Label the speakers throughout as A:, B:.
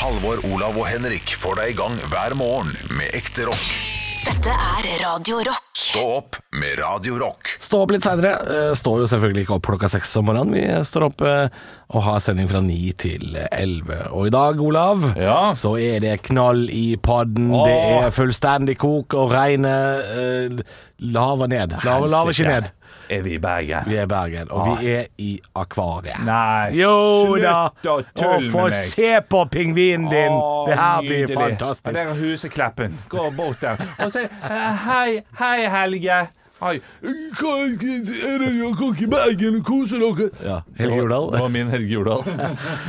A: Halvor, Olav og Henrik får deg i gang hver morgen med ekte rock.
B: Dette er Radio Rock.
A: Stå opp med Radio Rock.
C: Stå opp litt seinere. Står jo selvfølgelig ikke opp klokka seks om morgenen. Vi står opp eh, og har sending fra ni til eh, elleve. Og i dag, Olav,
D: Ja.
C: så er det knall i padden. Det er fullstendig kok, og regnet eh, laver ned. Laver, laver ikke ned.
D: Er vi i Bergen?
C: Vi er i Bergen, og vi er i akvariet.
D: Ah. Nei,
C: Jo da!
D: slutt å tulle
C: få
D: med meg.
C: se på pingvinen din!
D: Å,
C: det her blir
D: nydelig. Ja,
C: fantastisk.
D: Der er Husekleppen. Gå bort der og si eh, hei, hei, Helge. Hei. Kan- Er det jeg kan ikke i Bergen og koser dere?
C: Ja, Helge Jordal.
D: Det var min Helge Jordal.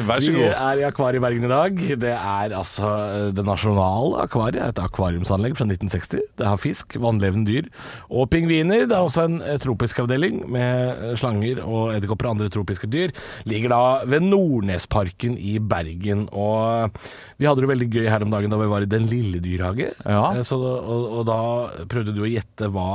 D: Vær så
C: Vi
D: god.
C: er i Akvariet i Bergen i dag. Det er altså eh, det nasjonale akvariet. Et akvariumsanlegg fra 1960. Det har fisk, vannlevende dyr og pingviner. Det er også en eh, tropisk avdeling med eh, slanger og edderkopper og andre tropiske dyr. Ligger da ved Nordnesparken i Bergen. Og eh, vi hadde det veldig gøy her om dagen da vi var i Den lille dyrhage.
D: Ja.
C: Eh, Så, og, og da prøvde du å gjette hva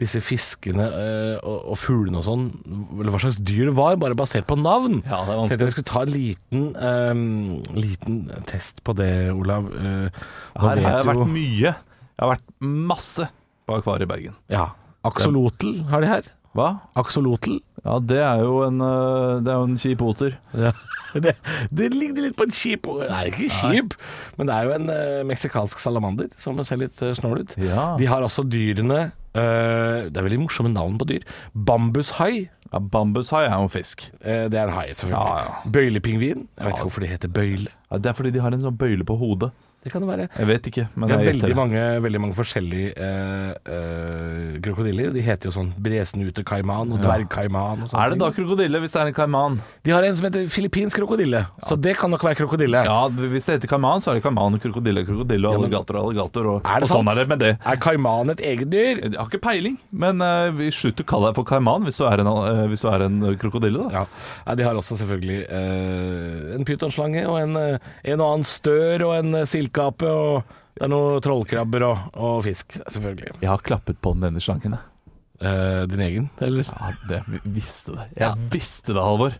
C: disse fiskene eh, og, og fuglene og sånn, eller hva slags dyr det var, bare basert på navn.
D: Ja, det er vanskelig.
C: Tenkte jeg vi skulle ta en liten, ehm, liten test på det, Olav. Eh, nå
D: Her har
C: vet
D: jeg
C: jo-
D: vært mye. Jeg har vært masse på Akvariet i Bergen.
C: Ja. Axolotl har de her.
D: Hva?
C: Axolotl.
D: Ja, det er jo en, eh, det er jo en kjip oter.
C: Ja. Det, det ligner litt på en skip Nei, ikke skip, men det er jo en eh, meksikansk salamander som ser litt eh, snål ut.
D: Ja.
C: De har også dyrene eh, Det er veldig morsomme navn på dyr. Bambushai.
D: Ja, Bambushai er jo en fisk.
C: eh, det er en hai, selvfølgelig.
D: Ja, ja.
C: Bøylepingvin. Jeg vet ikke hvorfor de heter bøyle.
D: Ja, det er fordi de har en sånn bøyle på hodet.
C: Det kan det være.
D: Jeg vet ikke, men
C: Det er
D: jeg
C: veldig
D: gjetter det.
C: mange, veldig mange forskjellige eh, eh, krokodiller. De heter jo sånn bresnute kaiman og dvergkaiman og sånne
D: Er det da krokodille hvis det er en kaiman?
C: ting. De har en som heter filippinsk krokodille, så det kan nok være krokodille.
D: Ja, hvis det heter kaiman, så er det kaiman, krokodille, krokodille, og alligator, alligator. Og,
C: Er det
D: og sånn
C: sant?
D: er det med det.
C: Er kaiman et eget dyr?
D: Jeg har ikke peiling, men eh, vi slutt å kalle deg for kaiman hvis du er en, eh, hvis du er en krokodille, da.
C: Ja. Nei, De har også selvfølgelig eh, en pytonslange og en, eh, en og annen stør og en eh, silkeape og det er noen trollkrabber og, og fisk, selvfølgelig.
D: Jeg har klappet på den denne slangen, jeg.
C: Eh, din egen, eller?
D: Ja, det jeg visste det. Jeg visste det, Halvor.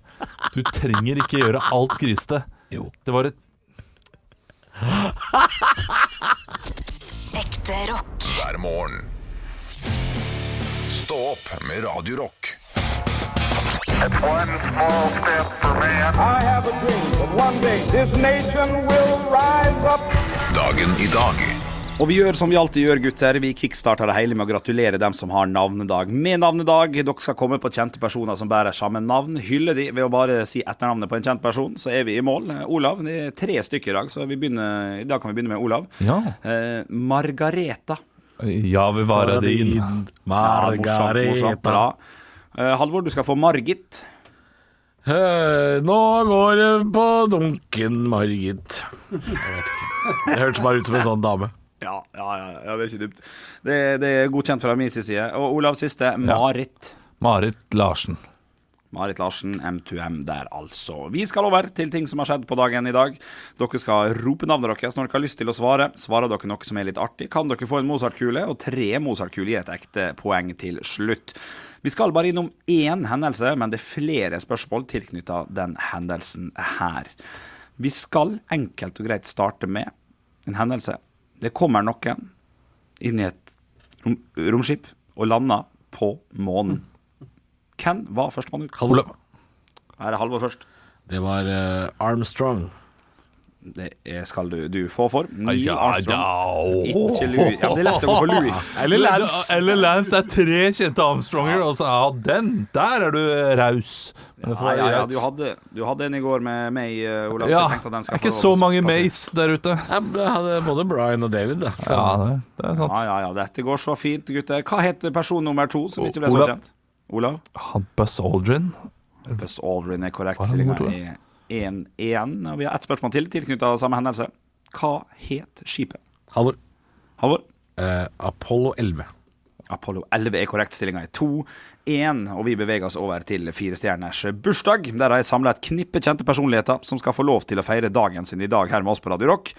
D: Du trenger ikke gjøre alt grisete.
C: Jo.
D: Det var et
B: Ekte rock.
A: Hver morgen. Stå opp med Radio Rock.
E: One small step for man.
F: I have a dream that one day this nation will rise up.
A: Dagen i dag.
G: Og vi gjør som vi alltid gjør, gutter. Vi kickstarter det hele med å gratulere dem som har navnedag med navnedag. Dere skal komme på kjente personer som bærer samme navn. Hylle de ved å bare si etternavnet på en kjent person, så er vi i mål. Olav, det er tre stykker i dag, så vi begynner, i dag kan vi begynne med Olav.
D: Ja.
G: Eh, Margareta.
D: Ja, vi var din.
G: Ja, morsomt, morsomt, bra. Eh, Halvor, du skal få Margit.
C: Eh, nå går det på dunken, Margit. Jeg vet ikke. Det hørtes bare ut som en sånn dame.
G: Ja, ja, ja, ja, det er ikke dumt. Det, det er godkjent fra min side. Og Olav siste, Marit.
D: Marit Larsen.
G: Marit Larsen, M2M der altså. Vi skal over til ting som har skjedd på dagen i dag. Dere skal rope navnet deres når dere har lyst til å svare. Svarer dere noe som er litt artig, kan dere få en Mozart-kule, og tre Mozart-kuler gir et ekte poeng til slutt. Vi skal bare innom én hendelse, men det er flere spørsmål tilknytta den hendelsen her. Vi skal enkelt og greit starte med en hendelse. Det kommer noen inn i et rom romskip og lander på månen. Hvem var førstemann ut?
C: Olav.
G: Her er Halvor først.
C: Det var eh, Armstrong.
G: Det er- skal du, du få for. Neil
D: Ja,
G: Armstrong.
D: da.
G: Ikke Louis. Ja, men det er lett å gå for Louis.
C: Eller Lance.
D: eh, Eller Lance. Det er tre kjente Armstronger, og så ja, den! Der er du raus. Men det får
G: Ja, ja,
D: være
G: ja,
D: greit.
G: du, hadde, du hadde en i går med meg, eh, Olav.
D: ja,
G: så jeg tenkte at den
D: det
G: skal
D: er ikke
G: få
D: så
G: lov å
D: mange
G: passe.
D: Mays der ute.
C: Jeg hadde både Brian og David, da. Så.
D: Ja, det, det er sant.
G: Ja, ja, ja, dette går så fint, gutter. Hva heter person nummer to som ikke ble så
D: Olav.
G: kjent? Olav?
D: Han Buzz Aldrin.
G: Buzz Aldrin er korrekt.
D: Hva er
G: Stillinga
D: nummer to,
G: er 1-1. Og Vi har ett spørsmål til tilknytta samme hendelse. Hva het skipet?
C: Halvor.
G: Halvor?
C: Eh, Apollo 11.
G: Apollo 11 er korrekt. Stillinga er 2-1, og vi beveger oss over til fire stjerners bursdag. Der har jeg samla et knippe kjente personligheter som skal få lov til å feire dagen sin i dag her med oss på Radio Rock.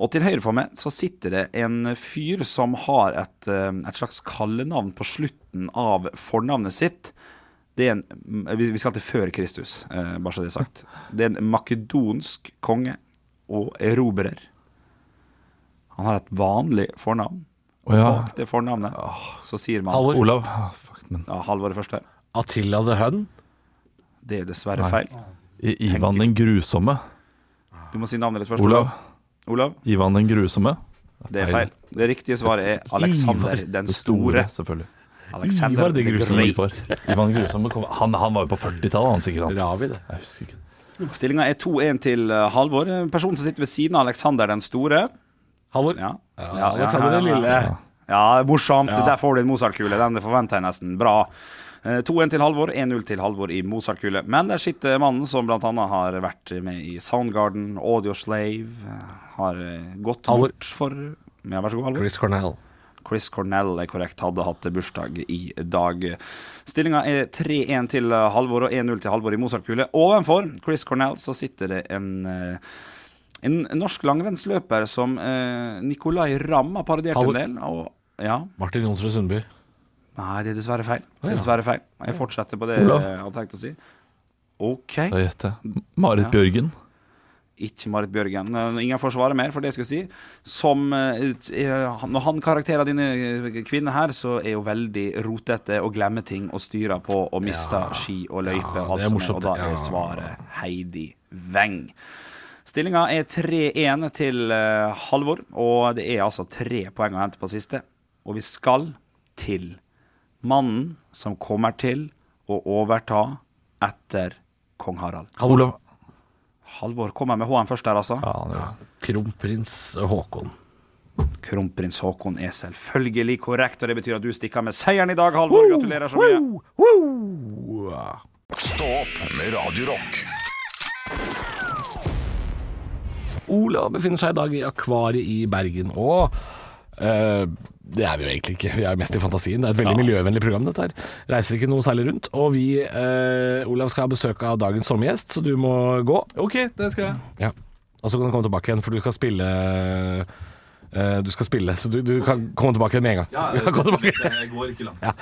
G: Og til høyre for meg så sitter det en fyr som har et, eh, et slags kallenavn på slutten av fornavnet sitt. Det er en, vi vi skal til før Kristus, eh, bare så det er sagt. Det er en makedonsk konge og erobrer. Han har et vanlig fornavn.
D: Å ja.
G: Bak det fornavnet så sier man
C: Halvor.
D: Olav. Ah, fuck, men.
G: ja, Halvor det første.
C: Attila the Hun.
G: Det er dessverre feil.
D: I- Ivan den grusomme.
G: Du må si navnet ditt først.
D: Olav.
G: Olav,
D: Ivan den grusomme.
G: det er feil. Det riktige svaret er Alexander
D: Ivar
G: den store.
D: Selvfølgelig.
G: Alexander
C: Ivar det
G: the
C: grusomme.
G: Great.
D: Ivar. Ivan den grusomme kom, han, han var jo på 40-tallet, han sikkert. Han.
C: Ravi, det.
D: Jeg husker ikke.
G: Stillinga er 2-1 til eh, Halvor. Personen som sitter ved siden av Alexander den store.
C: Halvor.
G: Ja, ja, ja,
C: Alexander den
G: ja, ja.
C: lille.
G: Ja, morsomt. Der får du en Mozart-kule. Den det forventer jeg nesten. Bra. Eh, 2-1 til Halvor, 1-0 til Halvor i Mozart-kule. Men der sitter mannen som bl.a. har vært med i Soundgarden, Audio Slave, eh, har eh, gått
C: Halvor.
G: bort for ja, Vær så god, Halvor.
C: Chris Cornell.
G: Chris Cornell er korrekt, hadde hatt bursdag i dag. Stillinga er 3-1 til eh, Halvor og 1-0 til Halvor i Mozart-kule. Ovenfor Chris Cornell så sitter det en eh, en norsk langrennsløper som eh, Nicolai Ramm har parodiert
C: Halvor.
G: en del. Og, ja,
C: Martin Jonsrud Sundby.
G: Nei, det er dessverre feil. Det er dessverre feil. Jeg fortsetter på det
D: Olav.
G: jeg hadde tenkt å si. OK.
D: Da gjetter jeg. Marit Bjørgen.
G: Ikke Marit Bjørgen. Eh, Ingen får svare mer for det jeg skulle si. Som eh, ut- eh, han- Når han karakterer denne kvinnen her, så er hun veldig rotete og glemmer ting og styrer på og mister ski og løype
C: Ja,
G: og alt
C: det er
G: som er.
C: morsomt,
G: Og da
C: det. Ja.
G: er svaret Heidi Weng. Stillinga er 3-1 til eh, Halvor, og det er altså tre poeng å hente på siste. Og vi skal til mannen som kommer til å overta etter kong Harald.
D: Olav.
G: Halvor kommer med HM først der, altså.
D: Ja, han er jo-
C: Kronprins Haakon.
G: Kronprins Haakon er selvfølgelig korrekt, og det betyr at du stikker med seieren i dag, Halvor. Gratulerer så mye.
A: Stå opp med Radio Rock.
C: Ola befinner seg i dag i Akvariet i Bergen. Og eh, det er vi jo egentlig ikke, vi er mest i fantasien. Det er et veldig miljøvennlig program, dette her. Reiser ikke noe særlig rundt. Og vi, eh, Olav, skal ha besøk av dagens sommergjest, så du må gå.
H: OK, det skal jeg.
C: Ja. Og så kan du komme tilbake igjen, for du skal spille eh, Du skal spille, så du, du kan komme tilbake igjen med en gang. du kan komme tilbake.
H: Jeg går ikke langt.
C: Ja.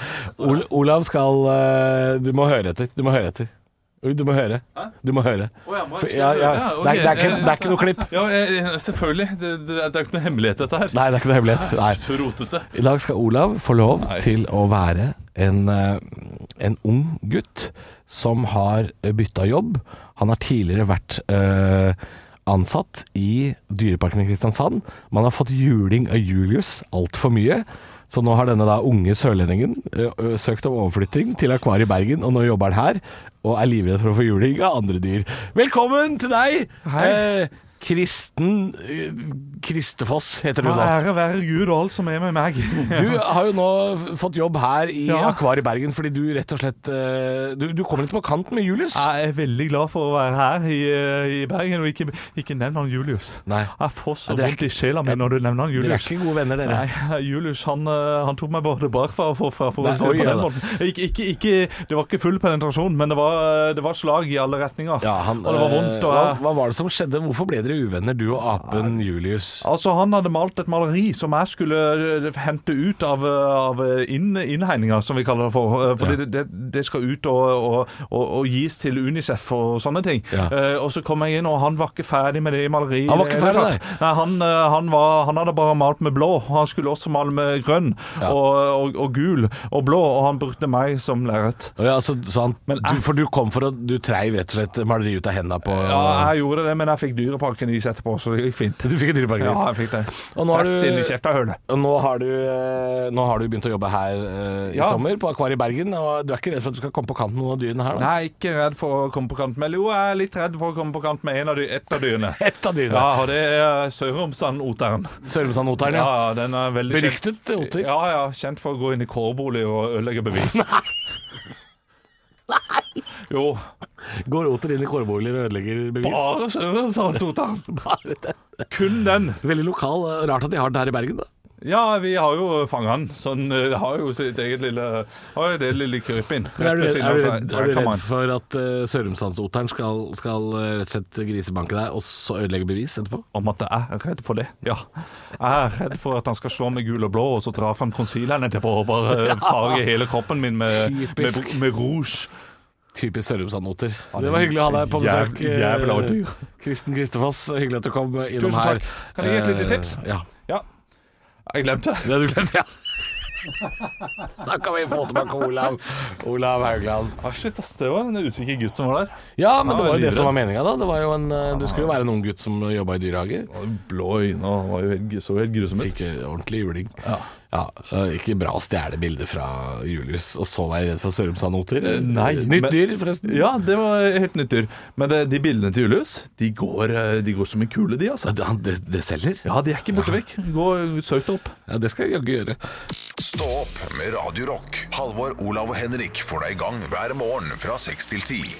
C: Ol Olav skal eh, Du må høre etter. Du må høre etter. Du må høre. Du må høre.
H: Å ja, må jeg
C: For-
H: ikke
C: ja, ja.
H: høre? Ja, ok.
C: Det, er, det, er ikke, det er ikke noe klipp.
D: Ja, eh, selvfølgelig. Det, det, det er jo ikke noe hemmelighet, dette her.
C: Nei, det er ikke noe hemmelighet. Nei.
D: Så rotete.
C: I dag skal Olav få lov til å være en, eh, en ung gutt som har bytta jobb. Han har tidligere vært eh, ansatt i Dyreparken i Kristiansand. Man har fått juling av Julius altfor mye. Så nå har denne da unge sørlendingen eh, ø, søkt om overflytting til Akvariet i Bergen, og nå jobber han her og er livredd for å få juling av andre dyr. Velkommen til deg! Eh, Kristen eh, Kristefoss heter du nå.
D: Ære være Gud og alt som er med meg.
C: Du har jo nå f- fått jobb her i
D: Ja.
C: Akvariet Bergen fordi du rett og slett eh, Du, du kommer litt på kanten med Julius.
D: Jeg er veldig glad for å være her i, eh, i Bergen, og ikke, ikke nevn han Julius.
C: Nei.
D: Jeg får
C: Ja,
D: så
C: dere er
D: vondt i
C: ikke-
D: sjela mi når du nevner han
C: Dere er
D: Julius.
C: ikke gode venner, dere.
D: Nei, Julius han, eh, han tok meg både bakfra og forfra. For
C: Nei,
D: å si det
C: oi,
D: på
C: ja
D: den
C: da.
D: måten. Ikke, ikke, ikke, det var ikke full penetrasjon, men det var, eh, det var slag i alle retninger.
C: Ja, han,
D: og det var
C: eh,
D: vondt. Og
C: hva,
D: jeg,
C: hva var det som skjedde? Hvorfor ble dere uvenner, du og apen Julius?
D: Altså, Han hadde malt et maleri som jeg skulle eh, hente ut av, eh, av inn, innhegninga, som vi kaller det for. eh, Fordi
C: Ja.
D: det, det, det skal ut og, og, og, og gis til Unicef og sånne ting.
C: Ja.
D: Eh, og så kom jeg inn, og han var ikke ferdig med det maleriet.
C: Han var ikke
D: i det hele
C: ferdig,
D: tatt. Nei, han, eh, han, var, han hadde bare malt med blå. og Han skulle også male med grønn
C: Ja.
D: og, og, og gul og blå, og han brukte meg som lerret.
C: Å Ja, så, så han,
D: Men
C: du,
D: jeg-
C: for du kom for å Du treiv rett og slett maleriet ut av henda på
D: Ja, jeg gjorde det, men jeg fikk Dyreparken is etterpå, så det gikk fint.
C: Du fikk en
D: Ja,
C: dyreparkgris.
D: jeg fikk det.
C: Og nå har du-
D: Rett inn i kjefta hølet.
C: Og Nå, har du, eh, nå har du begynt å jobbe her eh, i
D: Ja.
C: sommer, på Akvariet Bergen. Og du er ikke redd for at du skal komme på kanten med noen av dyrene her? Da?
D: Nei, ikke redd for å komme på kant med Eller Jo, jeg er litt redd for å komme på kant med en av dy et av dyrene.
C: Et av dyrene.
D: Ja, og det er eh, Sørumsand-oteren.
C: Sørumsand-oteren, ja.
D: Ja, den er veldig kjent.
C: Beryktet oter.
D: Ja, ja, kjent for å gå inn i kårbolig og ødelegge bevis. Nei! Jo,
C: Går oter inn i kårboliger og ødelegger bevis?
D: bare Sørumsand-oteren.
C: Bare det.
D: Kun den.
C: Veldig lokal. eh, Rart at de har den her i Bergen, da.
D: Ja, vi har jo fanget den. Så den eh, har jo sitt eget lille Har jo det lille krypinn.
C: Men Er du, redd,
D: Rett ved siden
C: er,
D: av
C: du redd,
D: tre-
C: er du
D: trekammeren.
C: redd for at uh, Sørumsandsoteren skal, skal eh, rett og slett grisebanke deg og så ødelegge bevis etterpå?
D: om at jeg er redd for det. Ja. Jeg er redd for at han skal slå meg gul og blå, og så dra fram concealeren etterpå og bare farge hele kroppen min med, med,
C: Typisk.
D: med rouge.
C: Typisk Sørumsandnoter. Det var hyggelig å ha deg på
D: Jæv-
C: besøk. eh,
D: jævla dyr.
C: Kristen Kristefoss, hyggelig at du kom innom
D: Tusen
C: her.
D: takk. Kan jeg gi et lite
C: Eh,
D: tips?
C: Ja.
D: Ja. Jeg glemte det.
C: Det har du glemt, ja. Da kan vi få tilbake Olav, Olav Haugland.
D: Ah, shit, ass, det var en usikker gutt som var der.
C: Ja, men det var jo det
D: livredd.
C: som var meninga, da. Det var jo en, eh, du skulle jo være en ung gutt som jobba i dyrehage.
D: Blå øyne og var jo helt, så helt grusom ut.
C: Fikk eh, ordentlig juling. Ja, eh, ikke bra å stjele bilder fra julehus og så være redd for sørumsandnoter.
D: Eh,
C: Eh,
D: nei,
C: Nytt
D: men-
C: dyr, forresten.
D: Ja, det var helt nytt dyr. Men det, de bildene til Julius, de går, eh, de går som en kule, de, altså.
C: Det, han- det, det selger?
D: Ja, de er ikke borte vekk. Gå søkt opp.
C: Ja, det skal jeg jaggu gjøre.
A: Stå opp med Radio Rock. Halvor, Olav og Henrik får deg i gang hver morgen fra 6 til 10.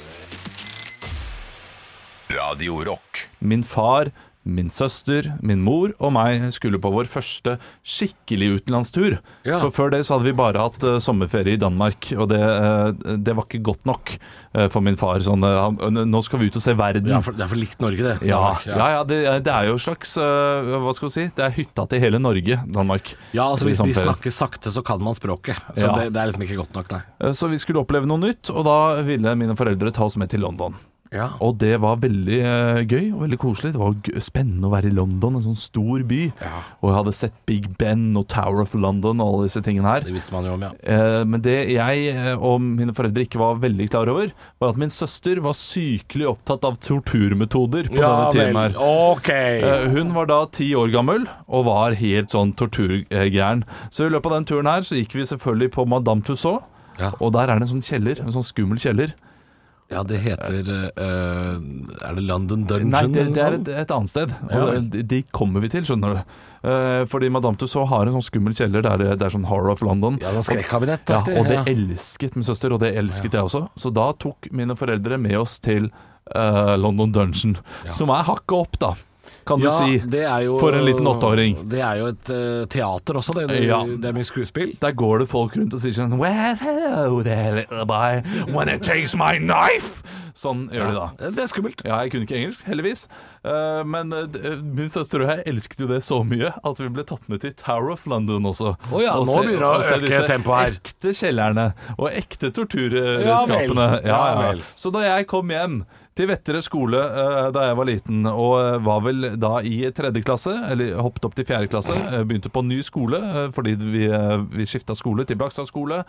A: Radio Rock.
D: Min far, min søster, min mor og meg skulle på vår første skikkelig utenlandstur.
C: Ja.
D: For før det så hadde vi bare hatt eh, sommerferie i Danmark, og det, eh, det var ikke godt nok eh, for min far. Sånn, eh, han, nå skal vi ut og se verden.
C: Derfor, derfor likte Norge det.
D: Ja,
C: Danmark,
D: ja, ja det, det er jo en slags eh, Hva skal vi si? Det er hytta til hele Norge, Danmark.
C: Ja, altså Hvis de
D: Sommerferie.
C: snakker sakte, så kan man språket. Så
D: sånn Ja.
C: det, det er liksom ikke godt nok, nei.
D: Eh, Så vi skulle oppleve noe nytt, og da ville mine foreldre ta oss med til London.
C: Ja.
D: Og det var veldig eh, gøy og veldig koselig. Det var gøy, spennende å være i London, en sånn stor by.
C: Ja.
D: Og jeg hadde sett Big Ben og Tower of London og alle disse tingene her.
C: Det visste man jo om, ja.
D: Eh, Men det jeg eh, og mine foreldre ikke var veldig klar over, var at min søster var sykelig opptatt av torturmetoder på denne tiden her.
C: Ok.
D: Eh, Hun var da ti år gammel og var helt sånn torturgæren. Så i løpet av den turen her så gikk vi selvfølgelig på Madame Tussauds.
C: Ja.
D: Og der er det en sånn kjeller, en sånn skummel kjeller.
C: Ja, det heter eh, Er det London Dungeon?
D: Nei, det,
C: eller
D: det er
C: noe sånt?
D: et, et annet sted.
C: Ja
D: Og
C: vel.
D: de, de kommer vi til, skjønner du. Eh, Fordi Madame Tussauds har en sånn skummel kjeller der det, det er sånn horror of London.
C: Ja, noe skrekkabinett.
D: Ja,
C: aktig,
D: og det
C: ja.
D: elsket min søster, og det elsket jeg også. Så da tok mine foreldre med oss til eh, London Dungeon, som er hakket opp, da, kan
C: Ja,
D: du si.
C: det er jo-
D: for en liten åtteåring.
C: Det er jo et eh, teater også, det. Det,
D: Ja.
C: det er mye skuespill.
D: Der går det folk rundt og sier sånn Well, hello there, little boy. When it takes my knife! Sånn gjør de da.
C: Det er skummelt.
D: Ja, jeg kunne ikke engelsk, heldigvis. Eh, men eh, d- eh, min søster og jeg elsket jo det så mye at vi ble tatt med til Tower of London også.
C: Å ja,
D: Og
C: nå begynner det å
D: og se
C: øke
D: disse
C: tempoet her.
D: Ekte kjellerne og ekte
C: Ja vel.
D: torturredskapene.
C: Ja vel.
D: Så da jeg kom hjem til Vettere skole eh, da jeg var liten, og eh, var vel da i tredje klasse, eller hoppet opp til fjerde klasse, eh, begynte på ny skole eh, fordi vi, eh, vi skifta skole til Blakstad skole,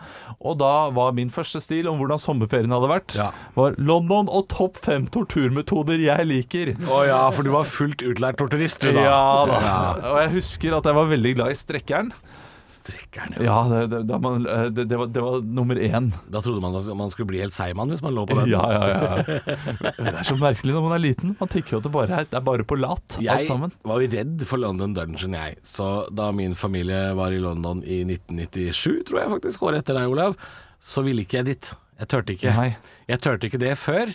D: og da var min første stil om hvordan sommerferien hadde vært,
C: Ja.
D: var London og topp fem torturmetoder jeg liker.
C: Å ja, for du var fullt utlært torturist, du da.
D: Ja da. Og jeg husker at jeg var veldig glad i strekkeren.
C: Strekkeren, ja.
D: Ja, det, det, da man, eh, det, det, var, det var nummer én.
C: Da trodde man at man skulle bli helt seigmann hvis man lå på
D: Ja,
C: den.
D: ja, ja. Men Det er så merkelig når man er liten. Man tenker jo at det bare er, det er bare på lat,
C: Jeg
D: alt sammen.
C: var jo redd for London Dungeon, jeg. Så da min familie var i London i 1997, tror jeg faktisk, året etter deg, Olav, så ville ikke jeg dit. Jeg tørte ikke.
D: Nei.
C: Jeg tørte ikke det før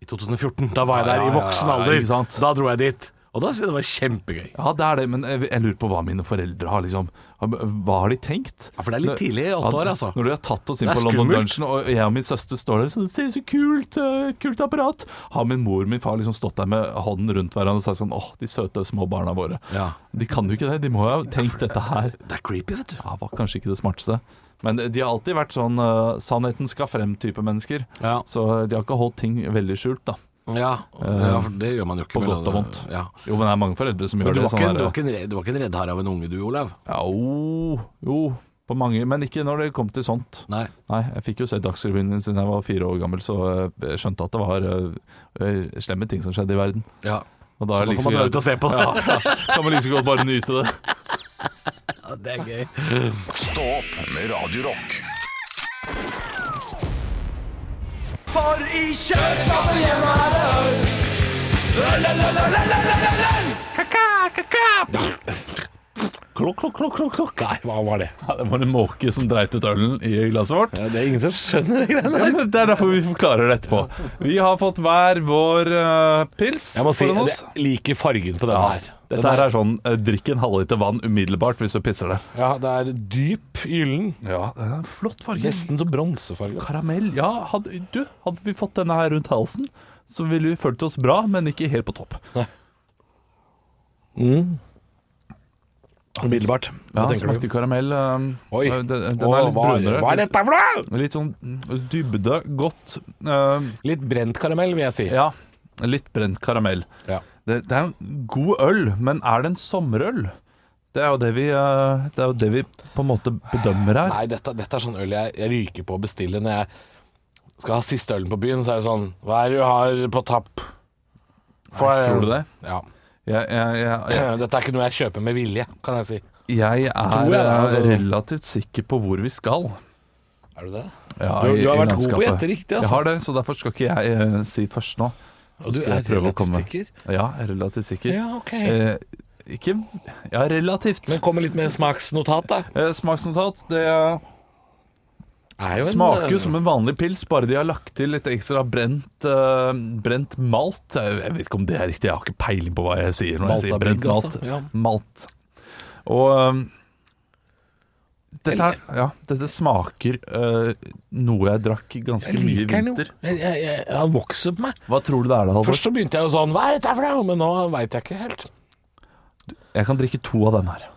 C: i 2014. Da var jeg der
D: Ja, ja,
C: i voksen
D: ja,
C: alder.
D: ikke sant?
C: Da dro jeg dit. Og da syntes jeg det var kjempegøy.
D: Ja, det er det, men jeg, jeg lurer på hva mine foreldre har liksom Hva har de tenkt?
C: Ja, for det er litt tidlig i åtte
D: Ja,
C: år, altså.
D: Når de har tatt oss inn
C: Det er
D: på London
C: skummelt.
D: Dungeon, og jeg og min søster står der sånn Se, så kult! eh, Et kult apparat! Har min mor og min far liksom stått der med hånden rundt hverandre og sagt sånn Åh, de søte små barna våre.
C: Ja.
D: De kan jo ikke det. De må jo ha tenkt dette her.
C: Det er creepy, vet du.
D: Ja, var kanskje ikke det smarteste. Men de har alltid vært sånn eh, sannheten skal frem-type mennesker.
C: Ja.
D: Så eh, de har ikke holdt ting veldig skjult,
C: Ja,
D: da.
C: Eh, ja for det gjør man jo ikke.
D: På
C: med
D: godt og
C: London-
D: vondt.
C: Ja.
D: Jo, men det er mange foreldre som
C: Men
D: gjør
C: du
D: det.
C: var, ikke,
D: der,
C: du, var ikke en, redd- du var ikke en reddhar av en unge du, Olav?
D: ja, jo, jo, på mange. Men ikke når det kom til sånt.
C: Nei.
D: Nei, jeg fikk jo se Dagsrevyen siden jeg var fire år gammel, så eh, jeg skjønte at det var eh, slemme ting som skjedde i verden.
C: Ja.
D: Og da
C: Så
D: er
C: nå
D: det
C: får man dra ut og se på det.
D: Ja, ja. Kan man like så godt bare nyte det.
C: Ja, det er gøy.
A: Stå opp med Radio Rock.
D: Klokk, klokk, klokk, klokk, klokk. Nei,
C: Hva var det?
D: ja, det var en måke som dreit ut ølen i glasset vårt.
C: det er ingen som skjønner de greiene
D: Ja, men det er derfor vi forklarer det etterpå. Vi har fått hver vår eh, pils
C: Jeg må si,
D: foran
C: jeg
D: oss.
C: liker fargen på denne
D: Ja,
C: her. Den
D: Dette her er sånn eh, drikk en halvliter vann umiddelbart hvis du pisser det.
C: ja, det er dyp gyllen.
D: Ja, det er en flott farge.
C: Nesten som bronsefarge.
D: Karamell. Ja, hadde, du, hadde vi fått denne her rundt halsen, så ville vi følt oss bra, men ikke helt på topp.
C: Umiddelbart.
D: Ja,
C: Hva tenker
D: smakte
C: du?
D: karamell. eh,
C: Oi,
D: Den, den
C: Åh,
D: er litt
C: hva,
D: brunere.
C: hva er dette for noe?!
D: Litt sånn dybde, godt. eh,
C: Litt brent karamell, vil jeg si.
D: ja, litt brent karamell.
C: Ja.
D: Det, det er en god øl, men er det en sommerøl? Det er jo det vi, eh, det er jo det vi på en måte bedømmer her.
C: Nei, dette, dette er sånn øl jeg, jeg ryker på å bestille når jeg skal ha siste ølen på byen. Så er det sånn Hva er det du har på tapp? Får jeg-
D: Tror du det?
C: Ja.
D: Jeg, jeg, jeg, jeg,
C: Dette er ikke noe jeg kjøper med vilje, kan jeg si.
D: jeg er
C: Tror jeg det, altså.
D: eh, relativt sikker på hvor vi skal.
C: Er du det?
D: Ja,
C: Du-
D: i-
C: du har
D: i
C: vært god på å
D: landskapet.
C: gjette riktig, altså.
D: Jeg har det, så derfor skal ikke jeg eh, si først nå.
C: Og du
D: Skal jeg
C: er
D: prøve å
C: relativt
D: komme?
C: sikker?
D: Ja, jeg er relativt sikker.
C: Ja, ok.
D: Eh, ikke Ja, relativt.
C: Men kom med litt mer smaksnotat, da.
D: Eh, smaksnotat det
C: Er jo en,
D: smaker jo
C: eh,
D: som en vanlig pils, bare de har lagt til litt ekstra brent, eh, brent malt. Jeg, jeg vet ikke om det er riktig, jeg har ikke peiling på hva jeg sier når jeg
C: Maltabygg,
D: sier brent malt.
C: altså, ja.
D: malt. Og eh, dette, er, ja, dette smaker eh, noe jeg drakk ganske
C: Jeg
D: mye i
C: liker den jo.
D: vinter.
C: Jeg- jeg- jeg- Han vokser på meg.
D: Hva tror du det er da, Halvor?
C: Først så begynte jeg jo sånn Hva er dette for noe? Men nå veit jeg ikke helt.
D: Jeg kan drikke to av dem her.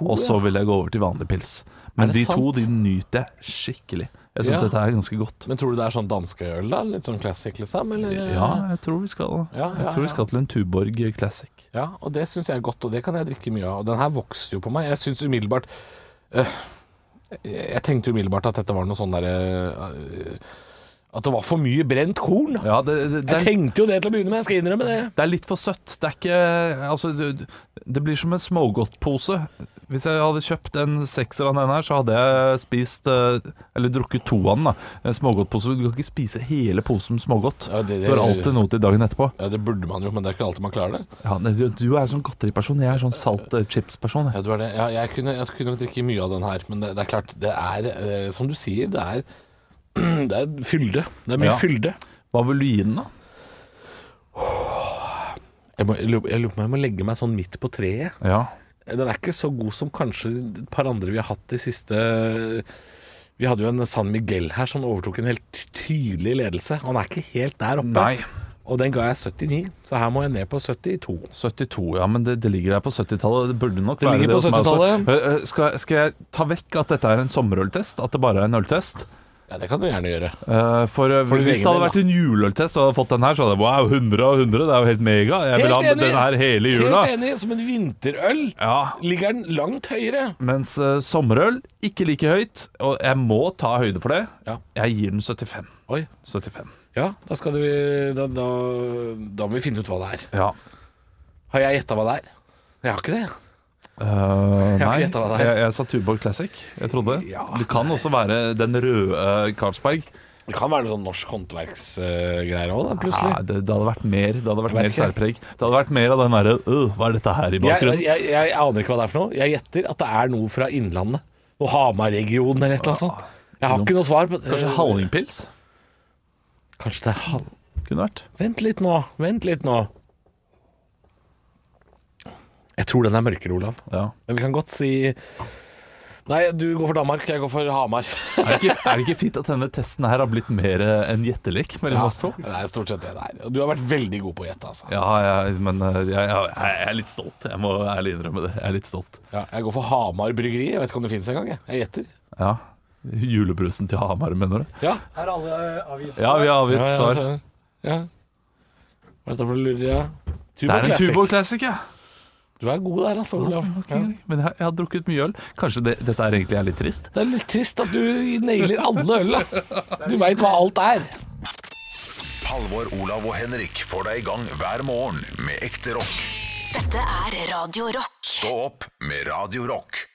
D: og så vil jeg gå over til vanlig pils. Men
C: det
D: de
C: sant?
D: to de nyter jeg skikkelig. Jeg syns
C: Ja.
D: dette er ganske godt.
C: Men tror du det er sånn danskeøl, da? Litt sånn classic, liksom? Eller?
D: Ja, jeg tror vi skal,
C: Ja, ja,
D: jeg tror
C: ja.
D: vi skal til en Tuborg Classic.
C: Ja, og det syns jeg er godt, og det kan jeg drikke mye av. Og den her vokste jo på meg. Jeg syns umiddelbart øh, jeg, jeg tenkte umiddelbart at dette var noe sånn derre øh, At det var for mye brent korn.
D: Ja, det, det, det,
C: Jeg
D: er,
C: tenkte jo det til å begynne med, jeg skal innrømme det.
D: det er litt for søtt. Det er ikke Altså, du- det blir som en smågodtpose. Hvis jeg hadde kjøpt en sekser av den her, så hadde jeg spist eh, Eller drukket to av den, da. En smågodtpose. Du kan ikke spise hele posen smågodt.
C: Ja, det- det-
D: du har alltid noe til dagen etterpå.
C: Ja, Det burde man jo, men det er ikke alltid man klarer det.
D: Ja, nei, du, du er sånn godteriperson. Jeg er sånn salt-chips-person.
C: Ja, du er det. Ja, jeg, kunne, jeg kunne nok drikke mye av den her, men det, det er klart, det er øh, som du sier, det er, det er fylde. Det er mye
D: Ja.
C: fylde.
D: Hva vil du gi den, da?
C: Jeg, må, jeg lurer jeg lurer på om jeg må legge meg sånn midt på treet.
D: Ja.
C: Den er ikke så god som kanskje et par andre vi har hatt de siste Vi hadde jo en San Miguel her som overtok en helt ty- tydelig ledelse. Han er ikke helt der oppe.
D: Nei.
C: Og den ga jeg 79, så her må jeg ned på 72.
D: 72, ja, men det, det ligger der på 70-tallet. Det burde nok
C: Det
D: være
C: ligger på
D: hos meg også.
C: 70-tallet.
D: Eh, eh, Skal, skal jeg ta vekk at dette er en sommerøltest? At det bare er en øltest?
C: Ja, det kan du gjerne gjøre.
D: Eh, for eh,
C: din
D: hvis
C: egen
D: det hadde
C: del,
D: vært en juleøltest og jeg hadde fått den her, så hadde jeg wow, 100 av 100, det er jo helt mega. Jeg vil
C: Helt
D: ha
C: enig!
D: den her hele jula.
C: Helt enig. Som en vinterøl
D: Ja,
C: ligger den langt høyere.
D: mens eh, sommerøl ikke like høyt, og jeg må ta høyde for det.
C: Ja.
D: Jeg gir den 75.
C: Oi.
D: 75.
C: Ja, da skal du Da, da, da må vi finne ut hva det er.
D: Ja.
C: Har jeg gjetta hva det er? Jeg har ikke det.
D: Eh,
C: har
D: nei,
C: ikke
D: jeg,
C: gjettet hva det er.
D: jeg sa Tuborg Classic. Jeg trodde det.
C: Ja.
D: Det kan også være den røde eh, Carlsberg.
C: Det kan være noe sånn norsk håndverksgreier òg, da, plutselig.
D: Ja, det, det hadde vært mer, det hadde vært
C: Jeg
D: mer
C: vet ikke.
D: særpreg. Det hadde vært mer av den derre «Øh, Hva er dette her i
C: Jeg,
D: bakgrunnen?
C: jeg, jeg aner ikke hva det er for noe. Jeg gjetter at det er noe fra Innlandet. Noe Hamar-regionen eller et eller annet sånt. Jeg har ikke noe svar på
D: Kanskje hallingpils?
C: Kanskje det er hal...
D: Kunne vært.
C: Vent litt nå. Vent litt nå. Jeg tror den er mørkere, Olav.
D: Ja.
C: Men vi kan godt si Nei, du går for Danmark, jeg går for Hamar.
D: Er, det ikke, er det ikke fint at denne testen her har blitt mer eh, en gjettelek mellom oss to?
C: det er stort sett det der. Du har vært veldig god på å gjette, altså.
D: Ja, jeg, men eh, jeg, jeg, jeg er litt stolt. Jeg må ærlig innrømme det. Jeg er litt stolt.
C: Ja, jeg går for Hamar bryggeri. Jeg vet ikke om det fins engang. jeg. Jeg gjetter.
D: Ja. Julebrusen til Hamar, mener du?
C: Ja.
I: Er alle eh, avgitt?
D: Ja, vi har avgitt
C: ja,
D: svar.
C: altså, ja. Hva er dette for lurer, ja?
D: Det er en
C: Classic.
D: Tuborg Classic, ja.
C: Du er god der, altså, Olav. Ja.
D: Men jeg, jeg har drukket mye øl. Kanskje det, dette er egentlig er litt trist?
C: Det er litt trist at du nailer alle ølene. Du veit hva alt er.
A: Halvor, Olav og Henrik får deg i gang hver morgen med ekte rock.
B: Dette er Radio Rock.
A: Stå opp med Radio Rock.